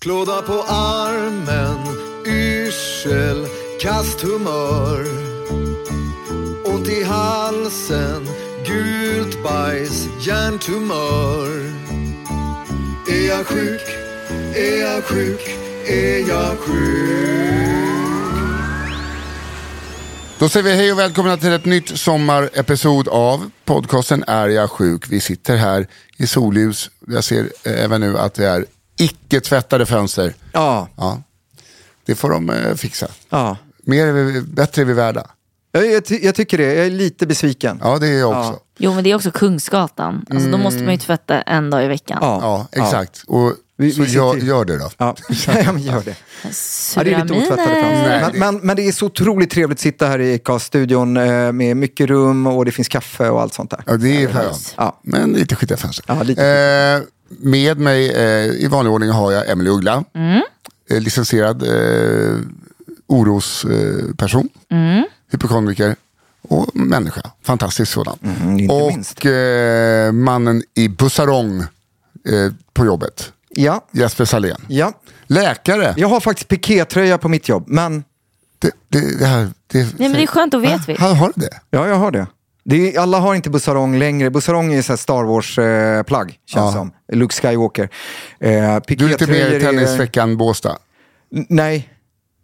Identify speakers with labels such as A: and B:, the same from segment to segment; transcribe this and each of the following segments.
A: Klåda på armen, yrsel, kast humör. Ont i halsen, gult bajs, hjärntumör. Är jag sjuk? Är jag sjuk? Är jag sjuk?
B: Då säger vi hej och välkomna till ett nytt sommarepisod av podcasten Är jag sjuk? Vi sitter här i solljus. Jag ser eh, även nu att det är icke tvättade fönster.
C: Ja,
B: Ja. Det får de eh, fixa.
C: ja.
B: Mer är vi, bättre är vi värda.
C: Jag, jag, ty- jag tycker det. Jag är lite besviken.
B: Ja, det är jag också.
D: Jo men det är också Kungsgatan. Alltså, Då måste man ju tvätta en dag i veckan.
C: Mm. Ja.
B: Ja, exakt. Och,
C: Vi-
B: så
C: vi sitter
B: gör,
C: ju-
B: gör det då.
C: Ja, ja men gör det. Ja,
D: Sura
C: det är lite otvättade
B: Nej,
C: fönster.
B: det-
C: Men, men, men det är så otroligt trevligt att sitta här i Acast-studion eh, med mycket rum och det finns kaffe och allt sånt där.
B: Ja, det är skönt.
C: Ja.
B: Men lite skitiga fönster.
C: Ja, lite
B: eh, med mig eh, i vanlig ordning har jag Emelie Uggla. Eh, licensierad eh, orosperson. Eh, person. Hypokondriker. Och människa. Fantastisk sådan.
C: Mm, inte minst.
B: och eh, mannen i bussarong eh, på jobbet.
C: Ja,
B: Jesper Salén.
C: ja.
B: Läkare.
C: Jag har faktiskt pikétröja på mitt jobb, men
B: Det, det, det här, det,
D: Nej men det är skönt, då vet vi.
B: Har, har du det?
C: ja, jag har det. det är, alla har inte bussarong längre. Bussarong är så här Star Wars-plagg, känns
B: Ja.
C: som. Luke Skywalker. Eh,
B: Du är lite mer
C: pikétröjor
B: i tennisveckan Båstad.
C: N- Nej.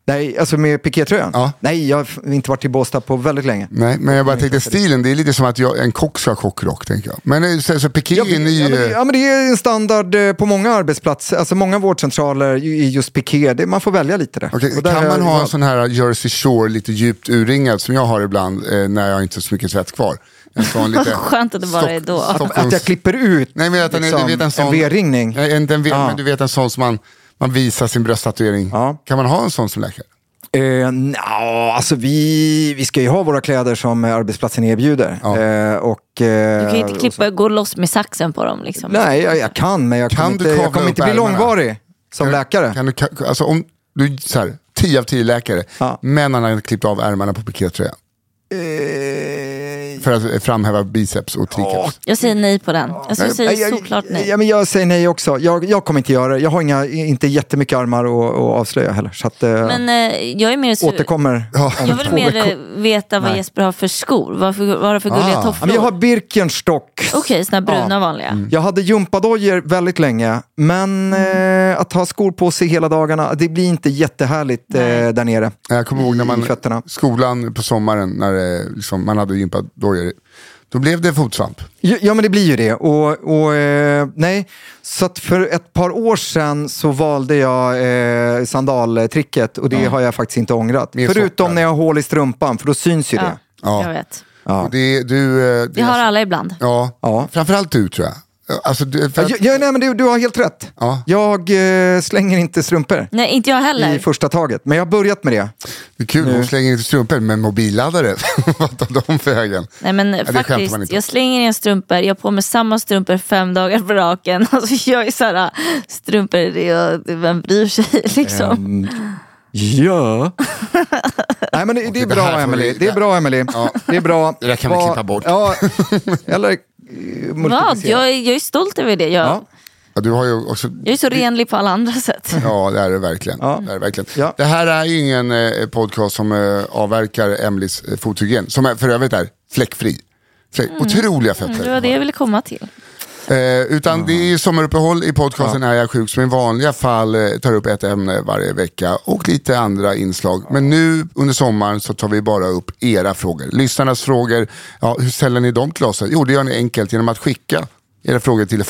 C: Nej, alltså med pikétröjan?
B: Ja.
C: Nej, jag har f- inte varit i Båstad på väldigt länge.
B: Nej, men jag bara tänkte stilen, det är lite som att jag, en kock ska ha kockrock tänker jag. Men eh, så, så piké
C: Ja,
B: är ny...
C: ja, men, det-
B: eh,
C: ja, men det är en standard eh, på många arbetsplatser, alltså många vårdcentraler ju- är just piké. Det, man får välja lite där.
B: Okej,
C: Och där
B: kan
C: har
B: man
C: jag-
B: ha en sån här Jersey Shore lite djupt urringad som jag har ibland eh, när jag inte har så mycket svett kvar? En sån lite...
D: skönt att det bara är då.
C: Att jag klipper ut
B: Nej, men att den är-
C: liksom,
B: du vet en sån...
C: V-ringning. Ah.
B: Nej, en, den, v-
C: Ja.
B: men du vet en sån som man, man visar sin brösttatuering.
C: Ja.
B: Kan man ha en sån som läkare?
C: Eh, nja, alltså vi, vi ska ju ha våra kläder som eh, arbetsplatsen erbjuder.
B: Ja.
C: Eh, och, eh,
D: Du kan ju inte
C: och så-
D: klippa, gå loss med saxen på dem liksom.
C: Nej, jag, jag kan, men jag
B: Kan
C: kommer
B: du
C: inte, jag
B: kavla
C: kommer
B: upp
C: inte bli
B: ärmarna?
C: långvarig som läkare.
B: Kan du, ka- alltså om du, så här, 10 av 10 läkare,
C: Ja.
B: men han har klippt av ärmarna på pikétröjan.
C: Eh,
B: För att eh, framhäva biceps och triceps.
D: Jag säger nej på den. Alltså, jag
C: Nej,
D: säger
C: jag-
D: såklart nej.
C: Ja, men jag säger nej också. Jag, jag kommer inte göra det. Jag har inga, inte jättemycket armar att, att avslöja heller. Så att, eh,
D: Men eh, jag är mer su-
C: återkommer. om
D: Jag vill
C: två
D: mer
C: veckor.
D: eh, veta vad
C: Nej.
D: Jesper har för skor. Vad för- vad har du för gulliga
B: Ah.
C: Ja,
D: tofflor?
C: men jag har Mm.
D: Okej,
C: Birkenstock.
D: såna bruna vanliga.
C: Jag hade gympadojor väldigt länge, men
D: Mm.
C: eh, att ha skor på sig hela dagarna, det blir inte jättehärligt eh, där nere.
B: Nej, Jag kommer ihåg när
C: i
B: man,
C: fötterna.
B: skolan på sommaren, när det, liksom, man hade gympadojor. Då blev det fotsvamp.
C: Ja, ja, men det blir ju det. Och, och, eh, nej. Så att för ett par år sedan så valde jag eh, sandaltricket och det har jag faktiskt inte ångrat.
B: Mer sockar.
C: Förutom när jag har hål i strumpan, för då syns ju
D: Ja,
C: det.
B: Ja.
D: Jag vet.
B: Och Det, du, eh, det,
D: Det har alla ibland.
B: Ja,
C: Ja.
B: framförallt du tror jag. Alltså, du, för
C: Ja,
B: att,
C: ja, nej, men du, du har helt rätt.
B: Ja.
C: Jag eh, slänger inte strumpor
D: Nej, inte jag heller.
C: i första taget. Men jag har börjat med det.
B: det är kul, hon slänger inte strumpor, men mobilladdare, vad tar de för vägen?
D: Nej men
B: det skämtar man
D: faktiskt,
B: inte
D: jag slänger in strumpor, jag har på mig samma strumpor fem dagar på raken. Alltså jag är såhär, strumpor, det är, vem bryr sig liksom?
C: Ehm, Ja. Nej, men det, det är
B: det här
C: bra,
B: får
C: Emily.
B: vi-
C: Det är bra, Emily. Det är bra.
B: Det där kan vi
C: Vad-
B: klippa bort.
C: Ja, eller eh,
D: Vad?
C: multiplicera.
D: Jag, är- Mm. jag är stolt över det. Jag,
C: Ja.
B: Ja, du har ju också...
D: jag är så renlig på alla andra sätt.
B: Ja, det är det verkligen. Det, är det, verkligen.
C: Ja.
B: det här är ju ingen eh, podcast som eh, avverkar Emelies eh, fothygien, som är, för övrigt är fläckfri. Fläck, Otroliga fötter.
D: Mm. Det var det jag ville komma till.
B: Eh, utan det är ju sommaruppehåll i podcasten Är jag sjuk som i vanliga fall eh, tar upp ett ämne varje vecka och lite andra inslag. Men nu under sommaren så tar vi bara upp era frågor. Lyssnarnas frågor, ja, hur ställer ni dem till oss? Jo, det gör ni enkelt genom att skicka era frågor till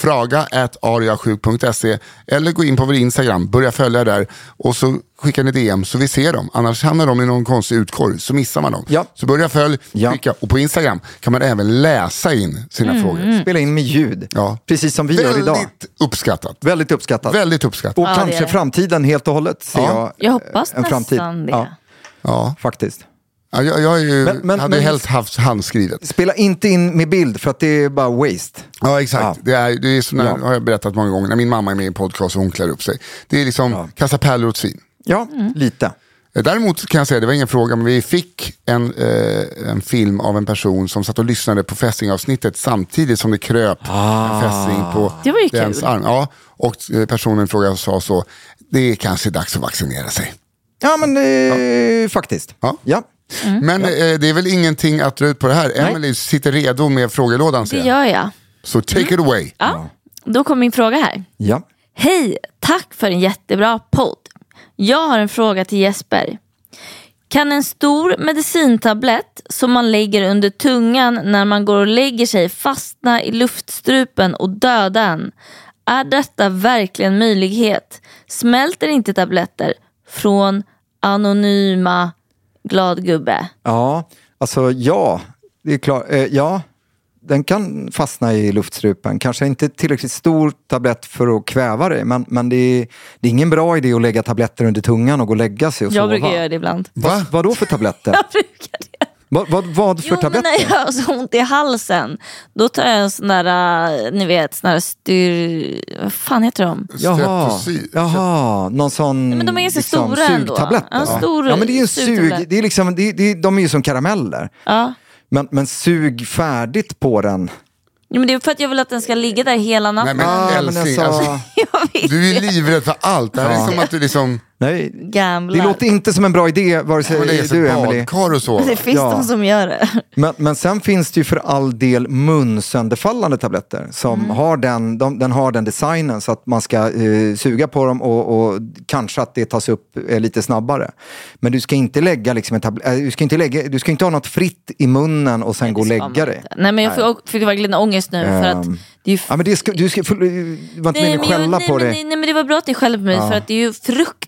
B: fraga.ariasjuk.se eller gå in på vår Instagram, börja följa där och så skickar ni DM så vi ser dem. Annars hamnar de i någon konstig utkorg så missar man dem.
C: Ja.
B: Så börja följ,
C: Ja.
B: skicka och på Instagram kan man även läsa in sina frågor.
C: Spela in med ljud,
B: Ja.
C: precis som vi gör idag.
B: Väldigt uppskattat.
C: Väldigt uppskattat.
B: Väldigt uppskattat.
C: Och
D: Ja, det
C: kanske
D: är det.
C: framtiden helt och hållet ser
B: Ja.
C: jag.
D: Jag hoppas
C: eh, en framtid.
D: nästan det.
C: Ja,
B: Ja.
C: faktiskt.
B: Ja, Jag, jag är ju,
C: Men- men-
B: hade
C: men-
B: helst haft handskrivet.
C: Spela inte in med bild för att det är bara waste.
B: Ja, exakt.
C: Ja.
B: Det, är, det är som när,
C: Ja.
B: har jag berättat många gånger, när min mamma är med i en podcast och hon klär upp sig. Det är liksom kasta pärlor åt svin.
C: Ja, lite.
B: Eh, Däremot kan jag säga, det var ingen fråga, men vi fick en, eh, en film av en person som satt och lyssnade på fästingavsnittet samtidigt som det kröp
C: Ah.
B: en fästing på
D: Det var ju kul.
B: dens arm. Ja, och eh, personen i fråga sa så, det är kanske dags att vaccinera sig.
C: Ja, men eh, faktiskt.
B: Ja.
C: Mm. Ja.
B: Men eh, det är väl ingenting att dra ut på det här. Emily sitter redo med frågelådan. ser
D: Det
B: jag.
D: gör jag.
B: Så take it away.
D: Ja. Då kommer min fråga här.
C: ja.
D: Hej, tack för en jättebra podd. Jag har en fråga till Jesper. Kan en stor medicintablett som man lägger under tungan när man går och lägger sig fastna i luftstrupen och döda en? Är detta verkligen möjlighet? Smälter inte tabletter från anonyma gladgubbe?
C: Ja, alltså ja, det är klart. Eh, ja, den kan fastna i luftstrupen. Kanske inte tillräckligt stor tablett för att kväva dig, men, men det, är, det är ingen bra idé att lägga tabletter under tungan och gå och lägga sig och sova.
D: Jag brukar göra det ibland.
B: Va?
C: Vad då för tabletter?
D: Jag brukar det.
C: vad, vad, vad för
D: Jo, men
C: tabletter?
D: när jag har så ont i halsen, då tar jag en sån där, eh, ni vet, sån där styr... Vad fan heter de?
C: Jaha,
B: Streptosil.
C: jaha, någon sån liksom
D: men de är ganska stora ändå.
C: sugtablett.
D: Ja, en
C: eller?
D: stor
C: ja, men det är ju en
D: sugtablett.
C: sug, det är liksom, det, är- det, är- de är ju som karameller.
D: Ja.
C: Men, men sug färdigt på den.
D: Jo, men det är för att jag vill att den ska ligga där hela
B: Nej
D: natten.
B: men
C: Ja, men
B: älskling,
C: jag sa-
B: alltså,
D: jag vill
B: du är livrädd för allt. Det här är som att du liksom,
C: Nej,
D: gambla.
C: Det låter inte som en bra idé, vare
B: går och lägger
C: sig
B: sig i
C: du
B: ett
C: Emily.
B: badkar och så.
D: Det finns
C: Ja.
D: de som gör det.
C: Men, men sen finns det ju för all del munsönderfallande tabletter som
D: Mm.
C: har, den, de, den har den designen så att man ska eh, suga på dem och, och kanske att det tas upp eh, lite snabbare. Men du ska inte lägga liksom en tabl- eh, du, ska inte lägga, du ska inte ha något fritt i munnen och sen gå och lägga dig.
D: Nej, men jag fick, fick verkligen ångest nu. För att
C: Ehm,
D: det är ju
C: Ja, men det ska, du ska, för, det var inte meningen att
D: jag-
C: skälla
D: nej,
C: på
D: men,
C: dig.
D: Nej, nej men det var bra att ni skäller på mig för att det är ju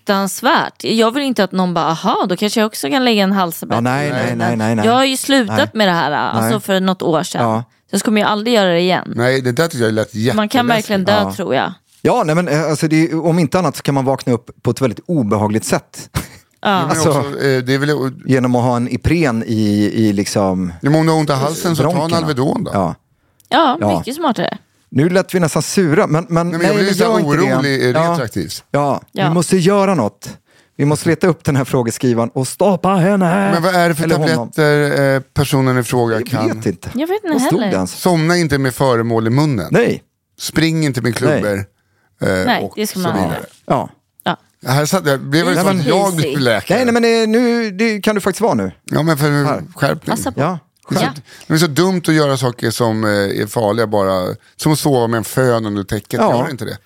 D: fruktansvärt. Jag vill inte att någon bara, aha då kanske jag också kan lägga en halsband.
C: Ja, nej, nej, nej, nej, nej.
D: Jag har ju slutat
C: Nej.
D: med det här alltså för något år sedan.
C: Ja.
D: Så jag kommer ju aldrig göra det igen.
B: Nej, det där tyckte jag lät jätteläskigt.
D: Man kan verkligen dö
C: Ja.
D: tror jag.
C: Ja, nej, men, eh, alltså, det, är- om inte annat så kan man vakna upp på ett väldigt obehagligt sätt.
B: Men
C: Alltså.
B: också, eh, det är väl,
C: Genom att ha en Ipren i, i liksom...
B: om du har ont i halsen så ta en
C: bronkerna.
B: Alvedon då.
C: Ja.
D: Ja,
C: Ja.
D: mycket smartare.
C: Nu lät vi nästan sura, men, men
B: Nej, men jag blir
C: men
B: så
C: gör inte det.
B: orolig eh,
C: Ja,
B: retroaktivt.
C: ja.
D: Ja.
C: vi måste göra något. Vi måste leta upp den här frågeskrivaren och stoppa henne.
B: Men vad är det för
C: Eller honom.
B: tabletter eh, personen i fråga
C: Jag
B: kan?
C: vet inte.
D: Jag vet inte
C: Vad stod
D: heller.
C: det ens?
B: Somna inte med föremål i munnen.
C: Nej.
B: Spring inte med klubbor. eh,
D: Nej,
B: och
D: det ska
B: så
D: man
B: vidare.
C: Ja.
D: Ja.
B: Här satt jag, blev det
D: Det är
B: som
D: så
B: att jag
D: risigt.
B: blev läkare?
C: Nej, nej, men eh, nu det kan du faktiskt vara nu.
B: Ja men för skärpning.
D: Passa på.
C: Ja.
B: Det är, så,
D: Alltså, Ja.
B: det är så dumt att göra saker som eh, är farliga bara. Som att sova med en fön under täcket.
C: Ja.
B: Gör inte det.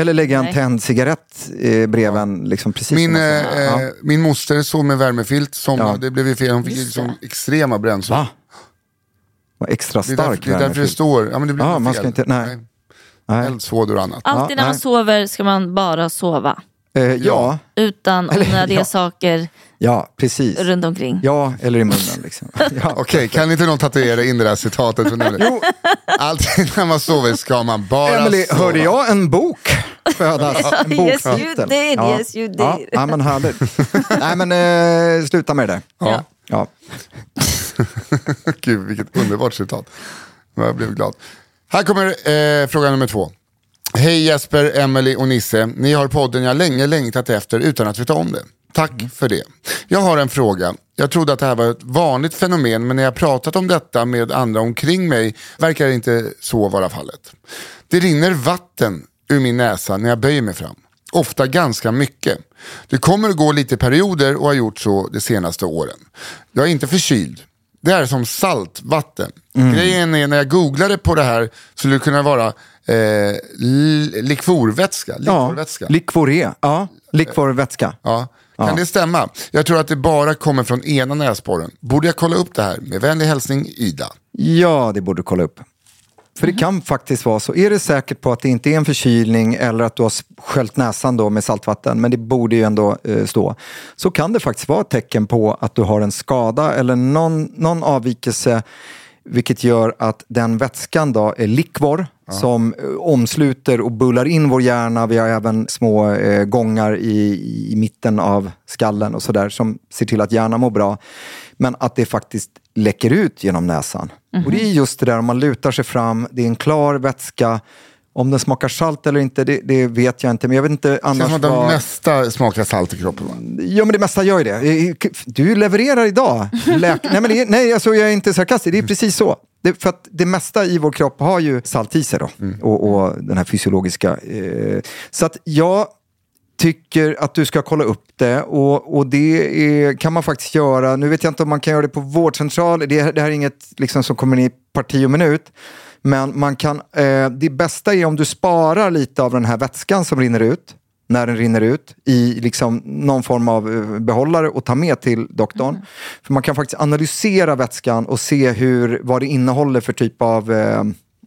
C: Eller lägga en
D: Nej.
C: tänd cigarett eh, bredvid en, liksom precis
B: Min,
C: som
B: eh,
C: man ska.
B: eh,
C: ja.
B: min moster sov med värmefilt. Somnade.
C: Ja.
B: Det blev ju fel. Hon fick ju
D: Just
B: liksom extrema bränslen.
C: Va? Var extra
B: Det är, därför,
C: stark.
B: det är därför det
C: värmefilt.
B: står. Ja, men det blir
C: Ja,
B: fel.
C: man ska inte- nej. Nej.
B: Eldsvådor och annat.
D: Alltid när man
C: nej.
D: sover ska man bara sova.
C: Eh, ja.
D: Utan onödiga
C: ja.
D: saker
C: Ja, precis.
D: runt omkring.
C: Ja, eller i munnen liksom. Ja.
B: Okej, kan inte någon tatuera in det där citatet? Från jo. Alltid när man sover ska man bara
C: Emily,
B: sova.
C: hörde jag en bok födas? En
D: Yes, you
C: boktitel.
D: did, yes, you did.
C: Ja, ja men härligt. Nej, men eh, sluta med det där.
B: Ja.
C: Ja.
B: Gud, vilket underbart citat. Jag blev glad. Här kommer eh, fråga nummer två. Hej Jesper, Emily och Nisse. Ni har podden jag länge längtat efter utan att veta om det. Tack för det. Jag har en fråga. Jag trodde att det här var ett vanligt fenomen men när jag pratat om detta med andra omkring mig verkar det inte så vara fallet. Det rinner vatten ur min näsa när jag böjer mig fram. Ofta ganska mycket. Det kommer att gå lite i perioder och har gjort så de senaste åren. Jag är inte förkyld. Det är som saltvatten. Grejen är när jag googlade på det här så skulle det kunna vara eh, li- likvorvätska.
C: Ja.
B: likvorvätska.
C: Likvoré. Ja, likvorvätska.
B: Ja. Kan det stämma? Jag tror att det bara kommer från ena näsborren. Borde jag kolla upp det här? Med vänlig hälsning Ida.
C: Ja, det borde du kolla upp. För det kan faktiskt vara så. Är du säker på att det inte är en förkylning eller att du har sköljt näsan då med saltvatten, men det borde ju ändå eh, stå, så kan det faktiskt vara ett tecken på att du har en skada eller någon, någon avvikelse vilket gör att den vätskan då är likvor som eh, omsluter och bullar in vår hjärna. Vi har även små eh, gångar i, i mitten av skallen och sådär som ser till att hjärnan mår bra. Men att det faktiskt läcker ut genom näsan. Och det är just det där om man lutar sig fram, det är en klar vätska. Om den smakar salt eller inte, det, det vet jag inte. Men jag vet inte
B: Det känns
C: annars Mm,
B: som att
C: vad-
B: de mesta smakar salt i kroppen. Va?
C: Ja, men det mesta gör ju det. Eh, Du levererar idag. Läk... nej, men det, är- nej alltså, jag är inte sarkastisk. Det är precis så. Det, för att det mesta i vår kropp har ju salt i sig då.
B: Mm.
C: Och, och den här fysiologiska. Eh, så att jag tycker att du ska kolla upp det. Och, och det är, kan man faktiskt göra. Nu vet jag inte om man kan göra det på vårdcentral. Det, det här är inget liksom, som kommer in i parti och minut. Men man kan, eh, det bästa är om du sparar lite av den här vätskan som rinner ut när den rinner ut i liksom någon form av eh, behållare och ta med till doktorn. För man kan faktiskt analysera vätskan och se hur, vad det innehåller för typ av eh,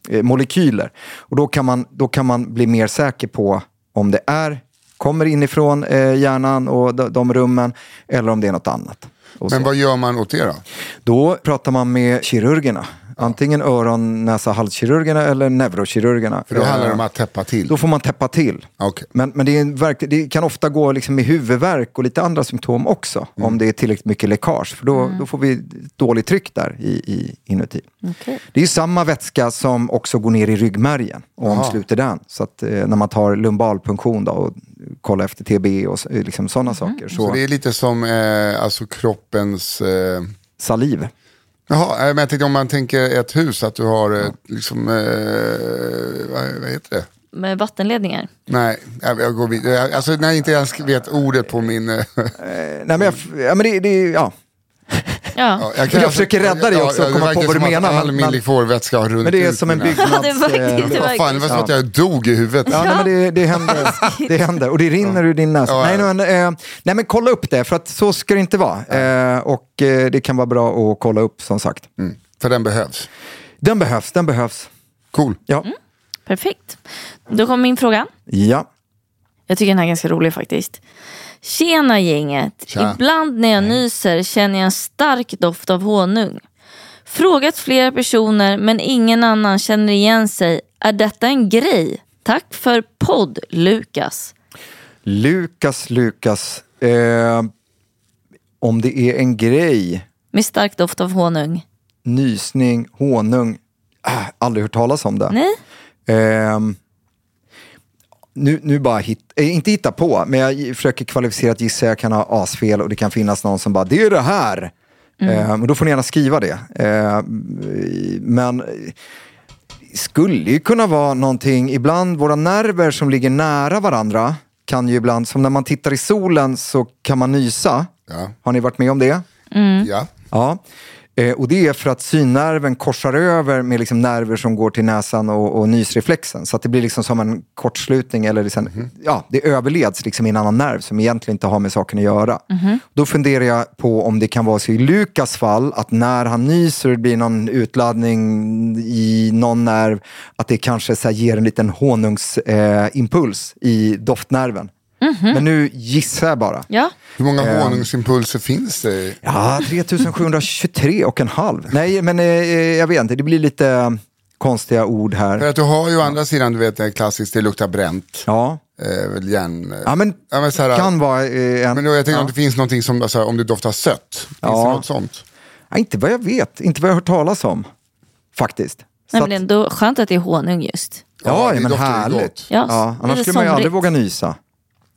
C: eh, molekyler. Och då kan, man, då kan man bli mer säker på om det är kommer inifrån eh, hjärnan och de, de rummen eller om det är något annat. Och så.
B: Men vad gör man åt det då?
C: Då pratar man med kirurgerna. Antingen öron, näsa, halskirurgerna eller neurokirurgerna.
B: För då handlar det
C: Eh,
B: om att täppa till.
C: då får man täppa till.
B: Okej.
C: Men, men det, är en verk, det kan ofta gå liksom med huvudvärk och lite andra symptom också. Om det är tillräckligt mycket läckage. För då, då får vi dåligt tryck där i, i, inuti. Det är ju samma vätska som också går ner i ryggmärgen och omsluter den. Så att eh, när man tar lumbalpunktion då och kollar efter TB och s- eh, liksom sådana saker. Så,
B: Så det är lite som eh, alltså kroppens... Eh...
C: saliv.
B: Jaha, eh, men jag tänkte om man tänker ett hus, att du har eh, liksom... Eh, vad, vad heter det?
D: Med vattenledningar.
B: Nej, jag, jag går vidare. Jag- Alltså, när jag inte ens vet ordet på min... eh,
C: Eh, Nej, men jag, f- ja, men det, det, är- ja.
D: Ja.
B: Ja,
C: Jag försöker rädda dig också, komma på
B: verkar
C: vad du
B: som att
C: menar, men-
B: All min
C: men-
B: likvorvätska har runnit
C: Men det är
B: ut
C: som en
B: mina-
C: byggnads...
D: det är verkligen-
C: eh,
D: det
B: Vad fan, det var som
C: Ja.
B: att jag dog i huvudet.
C: Ja, Mm. nej, men det, det händer. Det händer. Och det rinner ur din näsa.
B: Ja, ja.
C: nej, men, eh, nej, men kolla upp det, för att så ska det inte vara. Eh, och eh, det kan vara bra att kolla upp, som sagt.
B: Mm, för den behövs.
C: Den behövs, den behövs.
B: Cool.
C: Ja.
D: Perfekt. Då kommer min fråga.
C: ja.
D: Jag tycker den här är ganska rolig faktiskt. Tjena gänget.
B: Tja.
D: Ibland när jag nyser känner jag en stark doft av honung. Frågat flera personer men ingen annan känner igen sig. Är detta en grej? Tack för podd Lukas.
C: Lukas, Lukas. Eh, om det är en grej,
D: Med stark doft av honung.
C: nysning, honung. Äh, aldrig hört talas om det.
D: Nej?
C: Ehm, nu, nu bara hit, eh, inte hitta på, men jag försöker kvalificerat gissa. Jag kan ha asfel och det kan finnas någon som bara, det är det här. Ehm, och då får ni gärna skriva det. Ehm, men eh, skulle ju kunna vara någonting, ibland våra nerver som ligger nära varandra kan ju ibland, som när man tittar i solen så kan man nysa.
B: Ja.
C: Har ni varit med om det?
B: Ja.
C: Ja, eh, och det är för att synnerven korsar över med liksom nerver som går till näsan och, och nysreflexen. Så att det blir liksom som en kortslutning eller liksom, ja, det överleds liksom i en annan nerv som egentligen inte har med saken att göra. Då funderar jag på om det kan vara så i Lukas fall att när han nyser och det blir någon utladdning i någon nerv, att det kanske så här ger en liten honungsimpuls eh, impuls i doftnerven. Men nu gissar jag bara.
D: Ja.
B: Hur många
C: Ehm.
B: honungsimpulser finns det?
C: Ja, 3723 och en halv. Nej, men eh, jag vet inte. Det blir lite eh, konstiga ord
B: För
C: här.
B: att du har ju å andra sidan, du vet det är klassiskt, det luktar bränt.
C: Ja,
B: Eh, väl järn...
C: ja men,
B: Ja, men så här-
C: kan vara eh, en...
B: Men då, jag tänker
C: ja.
B: om det finns någonting som, alltså, om det doftar sött. Finns
C: Ja.
B: det något sånt?
C: Ja, inte vad jag vet, inte vad jag har hört talas om. Faktiskt. Så
D: Nej,
C: att-
D: men det är ändå skönt att det är honung just.
B: Ja,
C: ja,
B: det
C: men
B: doftar ju
C: härligt.
B: gott.
D: Ja,
C: Ja,
D: det är
C: annars skulle man ju
D: somrigt.
C: aldrig våga nysa.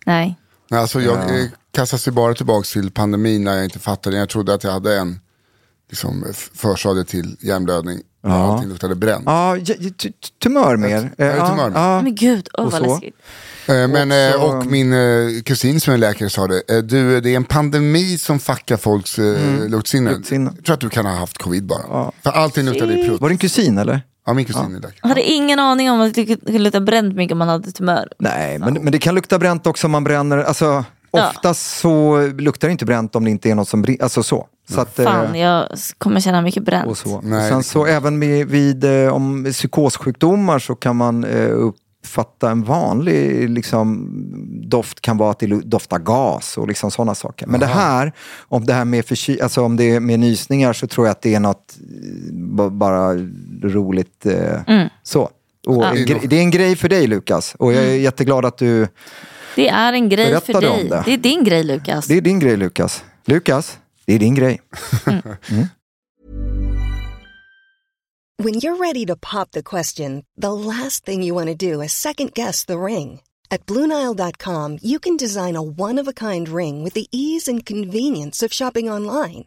D: Nej.
B: Nej, alltså, jag eh, kastas ju bara tillbaka till pandemin när jag inte fattade. Jag trodde att jag hade en liksom, f- försade till hjärnblödning. Ja. Allting luktade bränt.
C: Ja, j- j- t- t- tumör mer.
B: Ja,
C: Eh,
B: tumör.
C: Ja,
D: Men gud, åh
C: Och
D: vad
C: så?
D: läskigt.
B: Eh, Men,
C: Och så-
B: eh, och min eh, kusin som är läkare sa det, eh, du, det är en pandemi som fuckar folks eh, luktsinne.
C: Mm. luktsinne.
B: Jag tror att du kan ha haft covid bara. För allting luktade i prutt.
C: Var det en kusin eller?
B: Ja, min kusin är läkare.
D: Jag hade ingen aning om att det skulle lukta bränt mycket om man hade tumör.
C: Nej, men, men det kan lukta bränt också om man bränner. Alltså,
D: Ja.
C: oftast så luktar det inte bränt om det inte är något som brinner. Alltså så. så att, eh,
D: Fan, jag s- kommer känna mycket bränt.
C: och så.
B: Nej,
C: Sen
B: det
C: så även med, vid eh, om psykossjukdomar så kan man eh, uppfatta en vanlig liksom, doft kan vara att det lu- doftar gas och liksom sådana saker. Men det här, om det här med, förky- alltså, om det är med nysningar så tror jag att det är något eh, ba- bara roligt. Eh, Så. Och en gre- det är en grej för dig Lukas och jag är jätteglad att du,
D: Det är en grej
C: Berätta
D: för
C: då om
D: dig.
C: det.
D: Det. är din grej Lukas.
C: det är din grej Lukas. Lukas, det är din grej. Mm.
E: When you're ready to pop the question, the last thing you want to do is second guess the ring. At Bluenile.com, you can design a one of a kind ring with the ease and convenience of shopping online.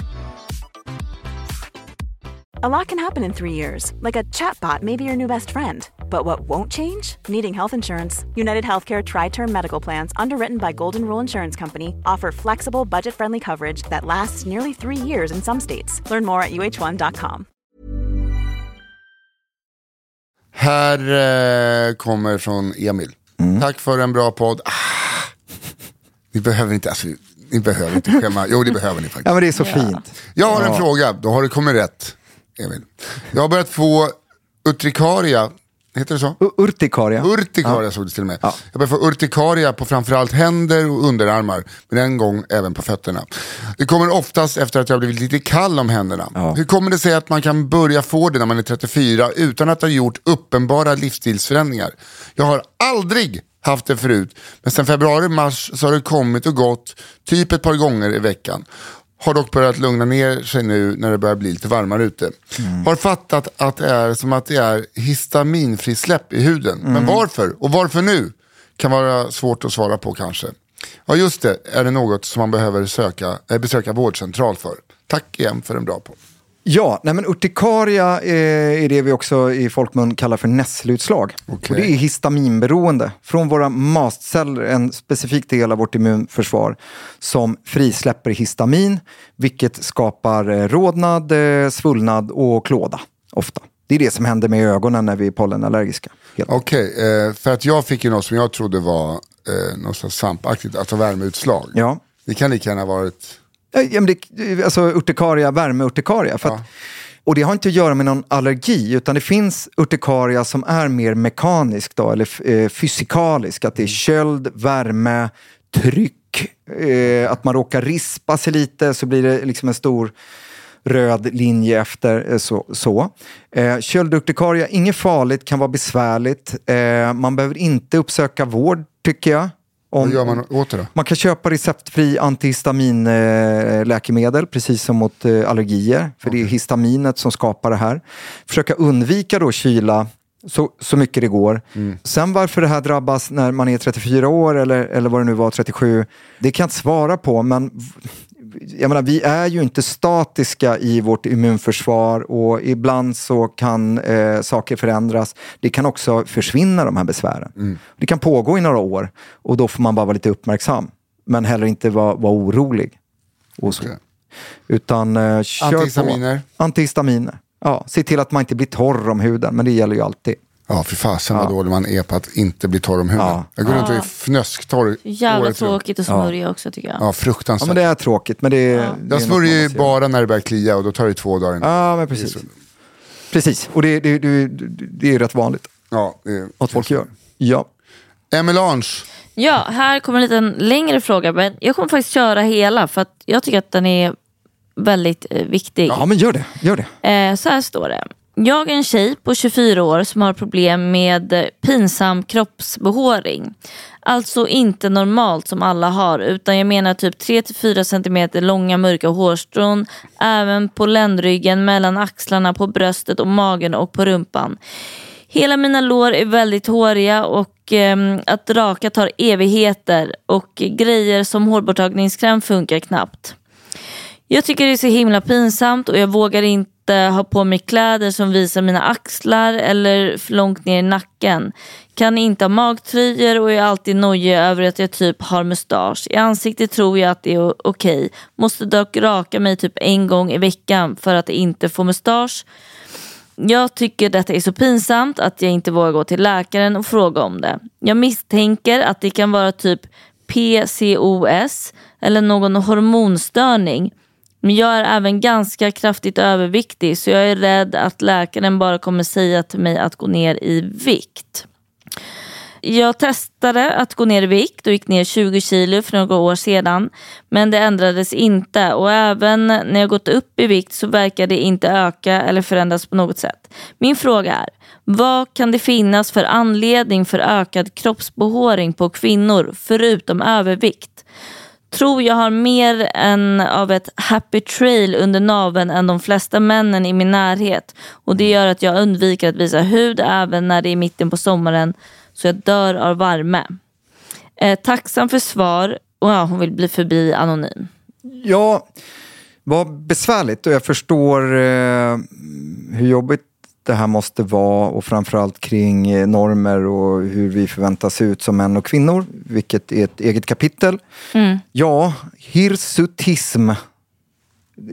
F: A lot can happen in three years, like a chatbot may be your new best friend. But what won't change? Needing health insurance. United Healthcare Tri Term Medical Plans, underwritten by Golden Rule Insurance Company, offer flexible, budget friendly coverage that lasts nearly three years in some states. Learn more at uh1.com.
B: Här eh, kommer från Emil.
C: Mm.
B: Tack för en bra podd. Ah. Ni behöver inte, alltså, ni behöver inte skämma. Jo, det behöver ni faktiskt.
C: Ja men det är så fint.
B: Jag har en fråga, då har du kommit rätt. Emil. Jag har börjat få utrikaria, heter det så?
C: U- Urtikaria.
B: Urtikaria såg det till och med. Jag börjar få urtikaria på framförallt händer och underarmar. Men en gång även på fötterna. Det kommer oftast efter att jag har blivit lite kall om händerna. Hur kommer det sig att man kan börja få det när man är 34 utan att ha gjort uppenbara livsstilsförändringar? Jag har aldrig haft det förut. Men sen februari-mars så har det kommit och gått typ ett par gånger i veckan. Har dock börjat lugna ner sig nu när det börjar bli lite varmare ute.
C: Mm.
B: Har fattat att det är som att det är histaminfrisläpp i huden.
C: Mm.
B: Men varför? Och varför nu? Kan vara svårt att svara på kanske. Ja just det, är det något som man behöver söka, eh, besöka vårdcentral för? Tack igen för en bra podd.
C: Ja, nej men urtikaria eh, är det vi också i folkmun kallar för nässelutslag.
B: Okej.
C: Och det är histaminberoende från våra mastceller, en specifik del av vårt immunförsvar som frisläpper histamin, vilket skapar eh, rodnad, eh, svullnad och klåda ofta. Det är det som händer med ögonen när vi är pollenallergiska. Helt.
B: Okej, eh, för att jag fick ju något som jag trodde var eh, något slags svampaktigt, alltså värmeutslag.
C: Ja.
B: Det kan lika gärna varit...
C: Ja, men det, alltså urtikaria, värmeurtikaria. För att, Och det har inte att göra med någon allergi, utan det finns urtikaria som är mer mekanisk, då, eller f- eh, fysikalisk.
B: Mm.
C: Att det är köld, värme, tryck, eh, att man råkar rispa sig lite så blir det liksom en stor röd linje efter. Eh, så. så. Eh, köldurtikaria, inget farligt, kan vara besvärligt. Eh, man behöver inte uppsöka vård, tycker jag. Om,
B: Vad gör man åt det då?
C: man kan köpa receptfri antihistaminläkemedel, precis som mot eh, allergier. För det är histaminet som skapar det här. Försöka undvika då kyla så, så mycket det går. Sen varför det här drabbas när man är 34 år eller, eller vad det nu var, 37, det kan jag inte svara på. Men v- jag menar, vi är ju inte statiska i vårt immunförsvar och ibland så kan eh, saker förändras. Det kan också försvinna de här besvären.
B: Mm.
C: Det kan pågå i några år och då får man bara vara lite uppmärksam. Men heller inte vara, vara orolig. Och så.
B: Okej.
C: Utan eh, kör
B: Antihistaminer.
C: På. Antihistaminer. Ja, se till att man inte blir torr om huden, men det gäller ju alltid.
B: Ja, för fasen vad dålig man är på att inte bli torr om huden.
C: Ja.
B: Jag går runt och är fnösktorr
D: Ah. Jävla
B: året runt.
D: tråkigt och smörja också tycker jag.
B: Ja,
C: Ja,
B: fruktansvärt.
C: men det är tråkigt, men det är... det är
B: Jag
C: något man
B: smörjer ju
C: måste göra.
B: bara när det börjar klia och då tar det två dagar innan.
C: Ja, men precis. Precis, och det, det, det, det- det är rätt vanligt
B: Ja, det är-
C: att folk gör. Ja.
B: Emelange,
D: Ja, här kommer en liten längre fråga. Men jag kommer faktiskt köra hela för att jag tycker att den är väldigt eh, viktig.
C: ja, men gör det. Gör det.
D: Eh, så här står det. Jag är en tjej på 24 år som har problem med eh, pinsam kroppsbehåring. Alltså inte normalt som alla har utan jag menar typ 3-4 cm långa mörka hårstrån även på ländryggen, mellan axlarna, på bröstet och magen och på rumpan. Hela mina lår är väldigt håriga och ehm, att raka tar evigheter och grejer som hårborttagningskräm funkar knappt. Jag tycker det är så himla pinsamt och jag vågar inte ha på mig kläder som visar mina axlar eller för långt ner i nacken. Kan inte ha magtröjor och är alltid nojig över att jag typ har mustasch. I ansiktet tror jag att det är o- okej. Måste dock raka mig typ en gång i veckan för att inte få mustasch. Jag tycker detta är så pinsamt att jag inte vågar gå till läkaren och fråga om det. Jag misstänker att det kan vara typ PCOS eller någon hormonstörning. Men jag är även ganska kraftigt överviktig så jag är rädd att läkaren bara kommer säga till mig att gå ner i vikt. Jag testade att gå ner i vikt och gick ner 20 kilo för några år sedan. Men det ändrades inte och även när jag gått upp i vikt så verkar det inte öka eller förändras på något sätt. Min fråga är, vad kan det finnas för anledning för ökad kroppsbehåring på kvinnor förutom övervikt? Tror jag har mer än av ett happy trail under naveln än de flesta männen i min närhet. Och det gör att jag undviker att visa hud även när det är mitten på sommaren så jag dör av värme. Eh, tacksam för svar. Och ja, hon vill bli förbi anonym.
C: Ja, vad besvärligt och jag förstår eh, hur jobbigt det här måste vara och framförallt kring eh, normer och hur vi förväntas se ut som män och kvinnor, vilket är ett eget kapitel. Ja, hirsutism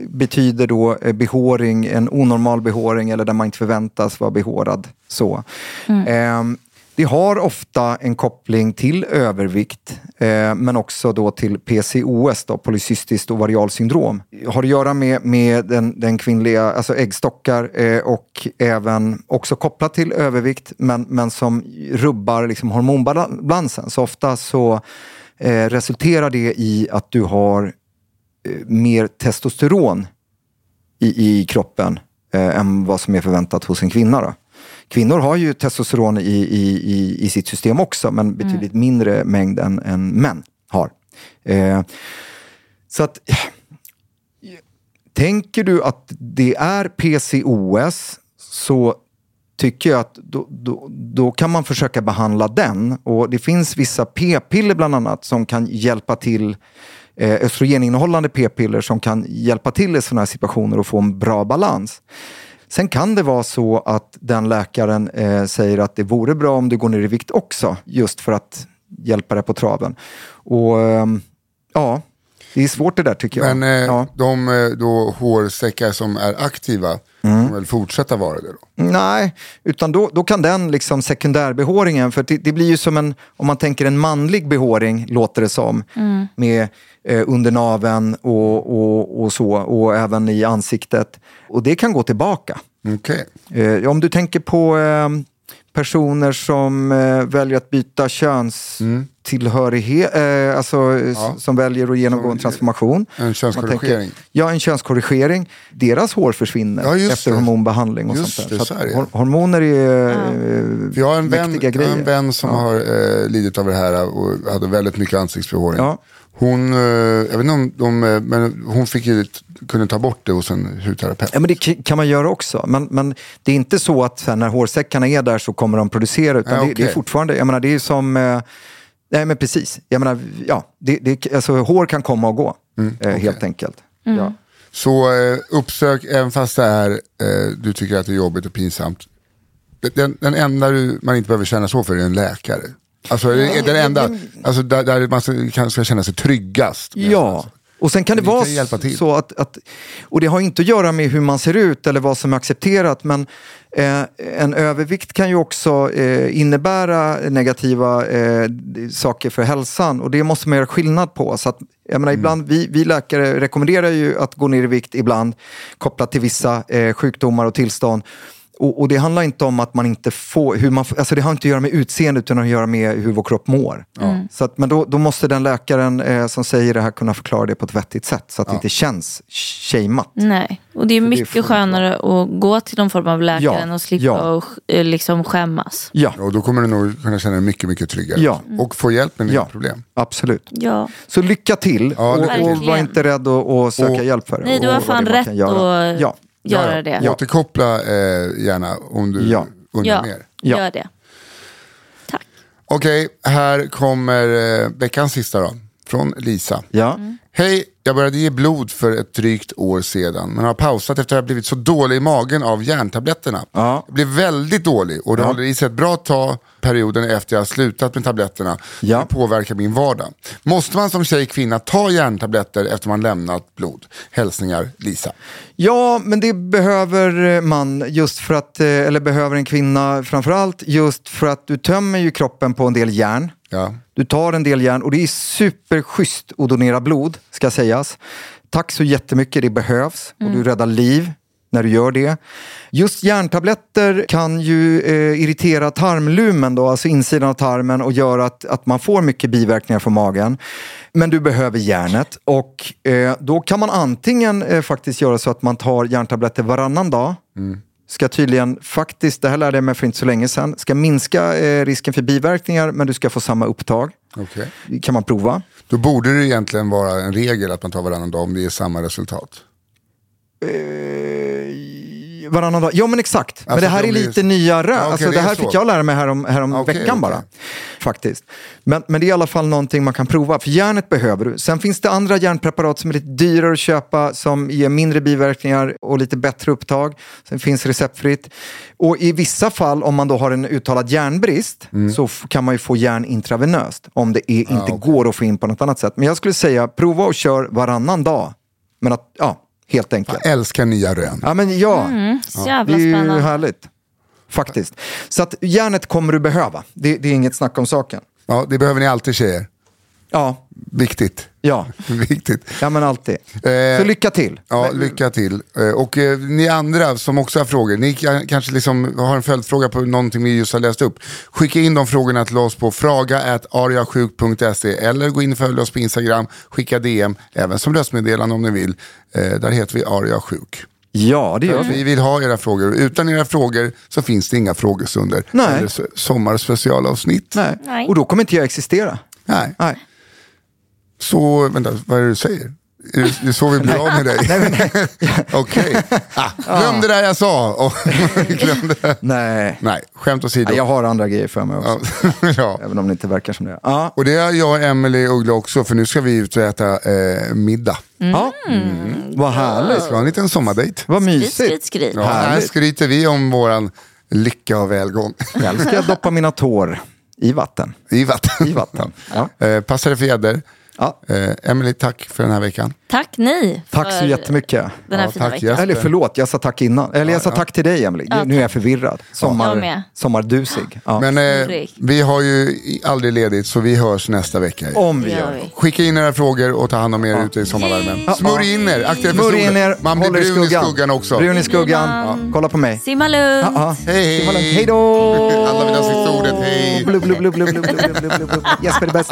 C: betyder då eh, behåring, en onormal behåring eller där man inte förväntas vara behårad. Så. Ehm, det har ofta en koppling till övervikt eh, men också då till PCOS, då, polycystiskt ovarialsyndrom. Har att göra med, med den, den kvinnliga, alltså äggstockar eh, och även också kopplat till övervikt men, men som rubbar liksom hormonbalansen. Så ofta så eh, resulterar det i att du har eh, mer testosteron i, i kroppen eh, än vad som är förväntat hos en kvinna. Då. Kvinnor har ju testosteron i, i, i, i sitt system också, men betydligt mindre mängd än, än män har. Eh, så att, tänker du att det är PCOS, så tycker jag att då, då, då kan man försöka behandla den. Och Det finns vissa p-piller bland annat som kan hjälpa till eh, östrogeninnehållande p-piller som kan hjälpa till i sådana här situationer och få en bra balans. Sen kan det vara så att den läkaren eh, säger att det vore bra om du går ner i vikt också, just för att hjälpa dig på traven. Och ehm, ja, det är svårt det där tycker jag.
B: men eh,
C: ja.
B: de eh, då, hårsäckar som är aktiva
C: Mm.
B: kommer väl fortsätta vara det då?
C: Nej, utan då, då kan den liksom sekundärbehåringen, för det, det blir ju som en, om man tänker en manlig behåring, låter det som, med eh, under naveln och, och, och så, och även i ansiktet. Och det kan gå tillbaka.
B: Okej,
C: Eh, om du tänker på eh, personer som eh, väljer att byta könstillhörighet, eh, alltså eh, s- som väljer att genomgå en transformation.
B: eh, en könskorrigering.
C: Man tänker, Ja, en könskorrigering. Deras hår försvinner
B: Ja, just
C: efter
B: det.
C: hormonbehandling och
B: Just
C: sånt
B: det, så
C: där. så
B: är det.
C: att, hor- hormoner är eh,
B: För jag har en vän,
C: mäktiga
B: jag har
C: grejer.
B: en vän som har eh, lidit av det här och hade väldigt mycket ansiktsbehåring.
C: Ja.
B: Hon, eh, jag vet inte om, de, eh, men hon fick ju, kunde ta bort det hos en hudterapeut.
C: Ja, men det k- kan man göra också. Men, men det är inte så att sen när hårsäckarna är där så kommer de producera. Utan
B: Ja,
C: det, det är
B: okej.
C: fortfarande, jag menar det är ju som... Eh, nej men precis, jag menar, ja, det, det, alltså, hår kan komma och gå.
B: Mm.
C: eh, Helt enkelt. Ja.
B: Så eh, uppsök, även fast det är, eh, du tycker att det är jobbigt och pinsamt. Den, den enda du, man inte behöver känna så för är en läkare. Alltså, det är den enda, alltså där, där man ska, kan, ska känna sig tryggast. med.
C: Ja, och sen kan
B: alltså.
C: det
B: Men vi
C: vara
B: kan hjälpa till.
C: så att, att... Och det har inte att göra med hur man ser ut eller vad som är accepterat men eh, en övervikt kan ju också eh, innebära negativa eh, d- saker för hälsan och det måste man göra skillnad på. Så att, jag
B: Mm.
C: menar, ibland, vi, vi läkare rekommenderar ju att gå ner i vikt ibland kopplat till vissa eh, sjukdomar och tillstånd. Och, och det handlar inte om att man inte får, hur man, får- alltså det har inte att göra med utseendet utan att göra med hur vår kropp mår.
D: Mm.
C: Så att, men då, då måste den läkaren eh, som säger det här kunna förklara det på ett vettigt sätt så att det inte känns shameat.
D: Nej, och det är mycket
C: fullt, va?
D: skönare att gå till någon form av läkare
C: Ja,
D: än att slippa
C: ja.
D: och, eh, liksom skämmas.
C: Ja,
B: Och då kommer du nog kunna känna dig mycket, mycket tryggare. Mm.
C: Ja.
B: Och få hjälp med dina
C: ja
B: problem.
C: absolut.
D: Ja.
C: Så lycka till
B: Ja, lycka
C: och, och
D: till.
C: var inte rädd att och söka
B: Och-
C: hjälp för det.
D: Nej, du
C: Och
D: har
C: vad
D: fan
C: det är man
D: rätt
C: kan göra.
D: att
C: Ja,
D: göra det. Ja,
B: Återkoppla eh, gärna om du
C: Ja.
B: undrar mer.
C: Ja.
D: gör det. Tack.
B: Okej, här kommer eh, veckans sista då. Från Lisa.
C: ja.
D: Mm.
B: Hej, jag började ge blod för ett drygt år sedan men har pausat efter att jag blivit så dålig i magen av järntabletterna.
C: Ja.
B: Jag blev väldigt dålig och det håller i sig ett bra tag perioden efter jag har slutat med tabletterna.
C: Ja.
B: Det påverkar min vardag. Måste man som tjej kvinna ta järntabletter efter man lämnat blod? Hälsningar Lisa.
C: Ja, men det behöver man just för att, eh, eller behöver en kvinna framförallt, just för att du tömmer ju kroppen på en del järn.
B: Ja.
C: Du tar en del järn och det är superschysst att donera blod, ska sägas. Tack så jättemycket, det behövs och du räddar liv när du gör det. Just järntabletter kan ju eh, irritera tarmlumen, då, alltså insidan av tarmen och göra att, att man får mycket biverkningar från magen. Men du behöver järnet och eh, då kan man antingen eh, faktiskt göra så att man tar järntabletter varannan dag ska tydligen faktiskt, det här lärde jag mig för inte så länge sedan, ska minska eh, risken för biverkningar men du ska få samma upptag.
B: Okay.
C: Det kan man prova.
B: Då borde det egentligen vara en regel att man tar varannan dag om det är samma resultat.
C: Eh, Varannan dag. Ja men exakt. men
B: Alltså,
C: det här
B: det
C: är
B: blir-
C: lite nya rö.
B: Ja, okej,
C: alltså,
B: det
C: det
B: är
C: här
B: så.
C: fick jag lära mig härom, härom
B: Okej,
C: veckan bara.
B: okej.
C: Faktiskt. Men, men det är i alla fall någonting man kan prova. För järnet behöver du. Sen finns det andra järnpreparat som är lite dyrare att köpa som ger mindre biverkningar och lite bättre upptag. Sen finns receptfritt. Och i vissa fall om man då har en uttalad järnbrist
B: Mm.
C: så f- kan man ju få järn intravenöst. Om det är, inte går att få in på något annat sätt. Men jag skulle säga prova och kör varannan dag. Men att, ja, helt enkelt.
B: Jag älskar nya rön.
C: Ja, men ja.
D: Så Mm, jävla
C: Det är ju
D: spännande.
C: härligt. Faktiskt. Så att järnet kommer du behöva. Det, det är inget snack om saken.
B: Ja, det behöver ni alltid tjejer.
C: Ja,
B: Viktigt.
C: ja.
B: Viktigt.
C: Ja men alltid.
B: Eh,
C: Så lycka till.
B: Ja, lycka till. Eh, Och eh, ni andra som också har frågor, ni kan- kanske liksom har en följdfråga på någonting vi just har läst upp. Skicka in de frågorna till oss på fraga.ariasjuk.se eller gå in och följ oss på Instagram, skicka DM, även som röstmeddelande om ni vill. Eh, Där heter vi ariasjuk.
C: Ja, det
D: Mm.
C: gör vi.
B: Vi vill ha era frågor utan era frågor så finns det inga frågestunder
C: Nej.
B: eller so- sommarspecialavsnitt.
C: Nej.
D: Nej.
C: Och då kommer inte jag existera.
B: Nej.
C: Nej.
B: Så, vänta, vad är det du säger? Är det- Det är så vi blir av med dig? Okej. Ah, glöm det där jag sa. Och glöm det.
C: Nej.
B: Nej, skämt åsido.
C: Nej, jag har andra grejer för mig också.
B: ja.
C: Även om det inte verkar som det. Ja.
B: Och det är jag, Emily Uggla också, för nu ska vi ut och äta eh, middag.
D: Mm.
C: ja. Vad
B: Vi
C: härligt.
B: ska ha en liten sommardejt.
C: Vad
D: Skryt, skryt,
C: mysigt.
D: skryt.
B: Ja, här skryter vi om våran lycka och välgång
C: Själv ska jag doppa mina tår i vatten.
B: i vatten.
C: I vatten. Ja.
B: Eh, passa dig för gäddor.
C: Ja.
B: Eh, Emily, tack för den här veckan.
D: Tack ni.
C: Tack så
D: för
C: jättemycket.
D: Den här
B: Ja,
D: fina
B: tack,
D: veckan.
B: Jesper.
C: Eller förlåt, jag sa tack innan. Eller jag sa tack till dig Emily. nu är jag förvirrad. Sommar,
D: Jag med.
C: sommardusig. Ja.
B: Men eh,
D: Ulrik.
B: vi har ju i- aldrig ledigt så vi hörs nästa vecka.
C: Om vi
D: Det
C: gör
D: gör
C: det.
D: vi.
B: Skicka in era frågor och ta hand om er ute i sommarvärmen.
C: Ja,
B: Smörj
C: ja.
B: in er, akta er för
C: Smörj in er,
B: solen. Man blir
C: håll er
B: brun i skuggan också.
C: Brun i skuggan. Kolla på mig.
D: Simma lugnt.
C: Ja.
B: Hej, hej.
C: Hej då!
B: Alla vill ha sista ordet, hej.
C: Blub, blub, blub, blub, blub, blub, blub, blub, blub. Jesper är bäst.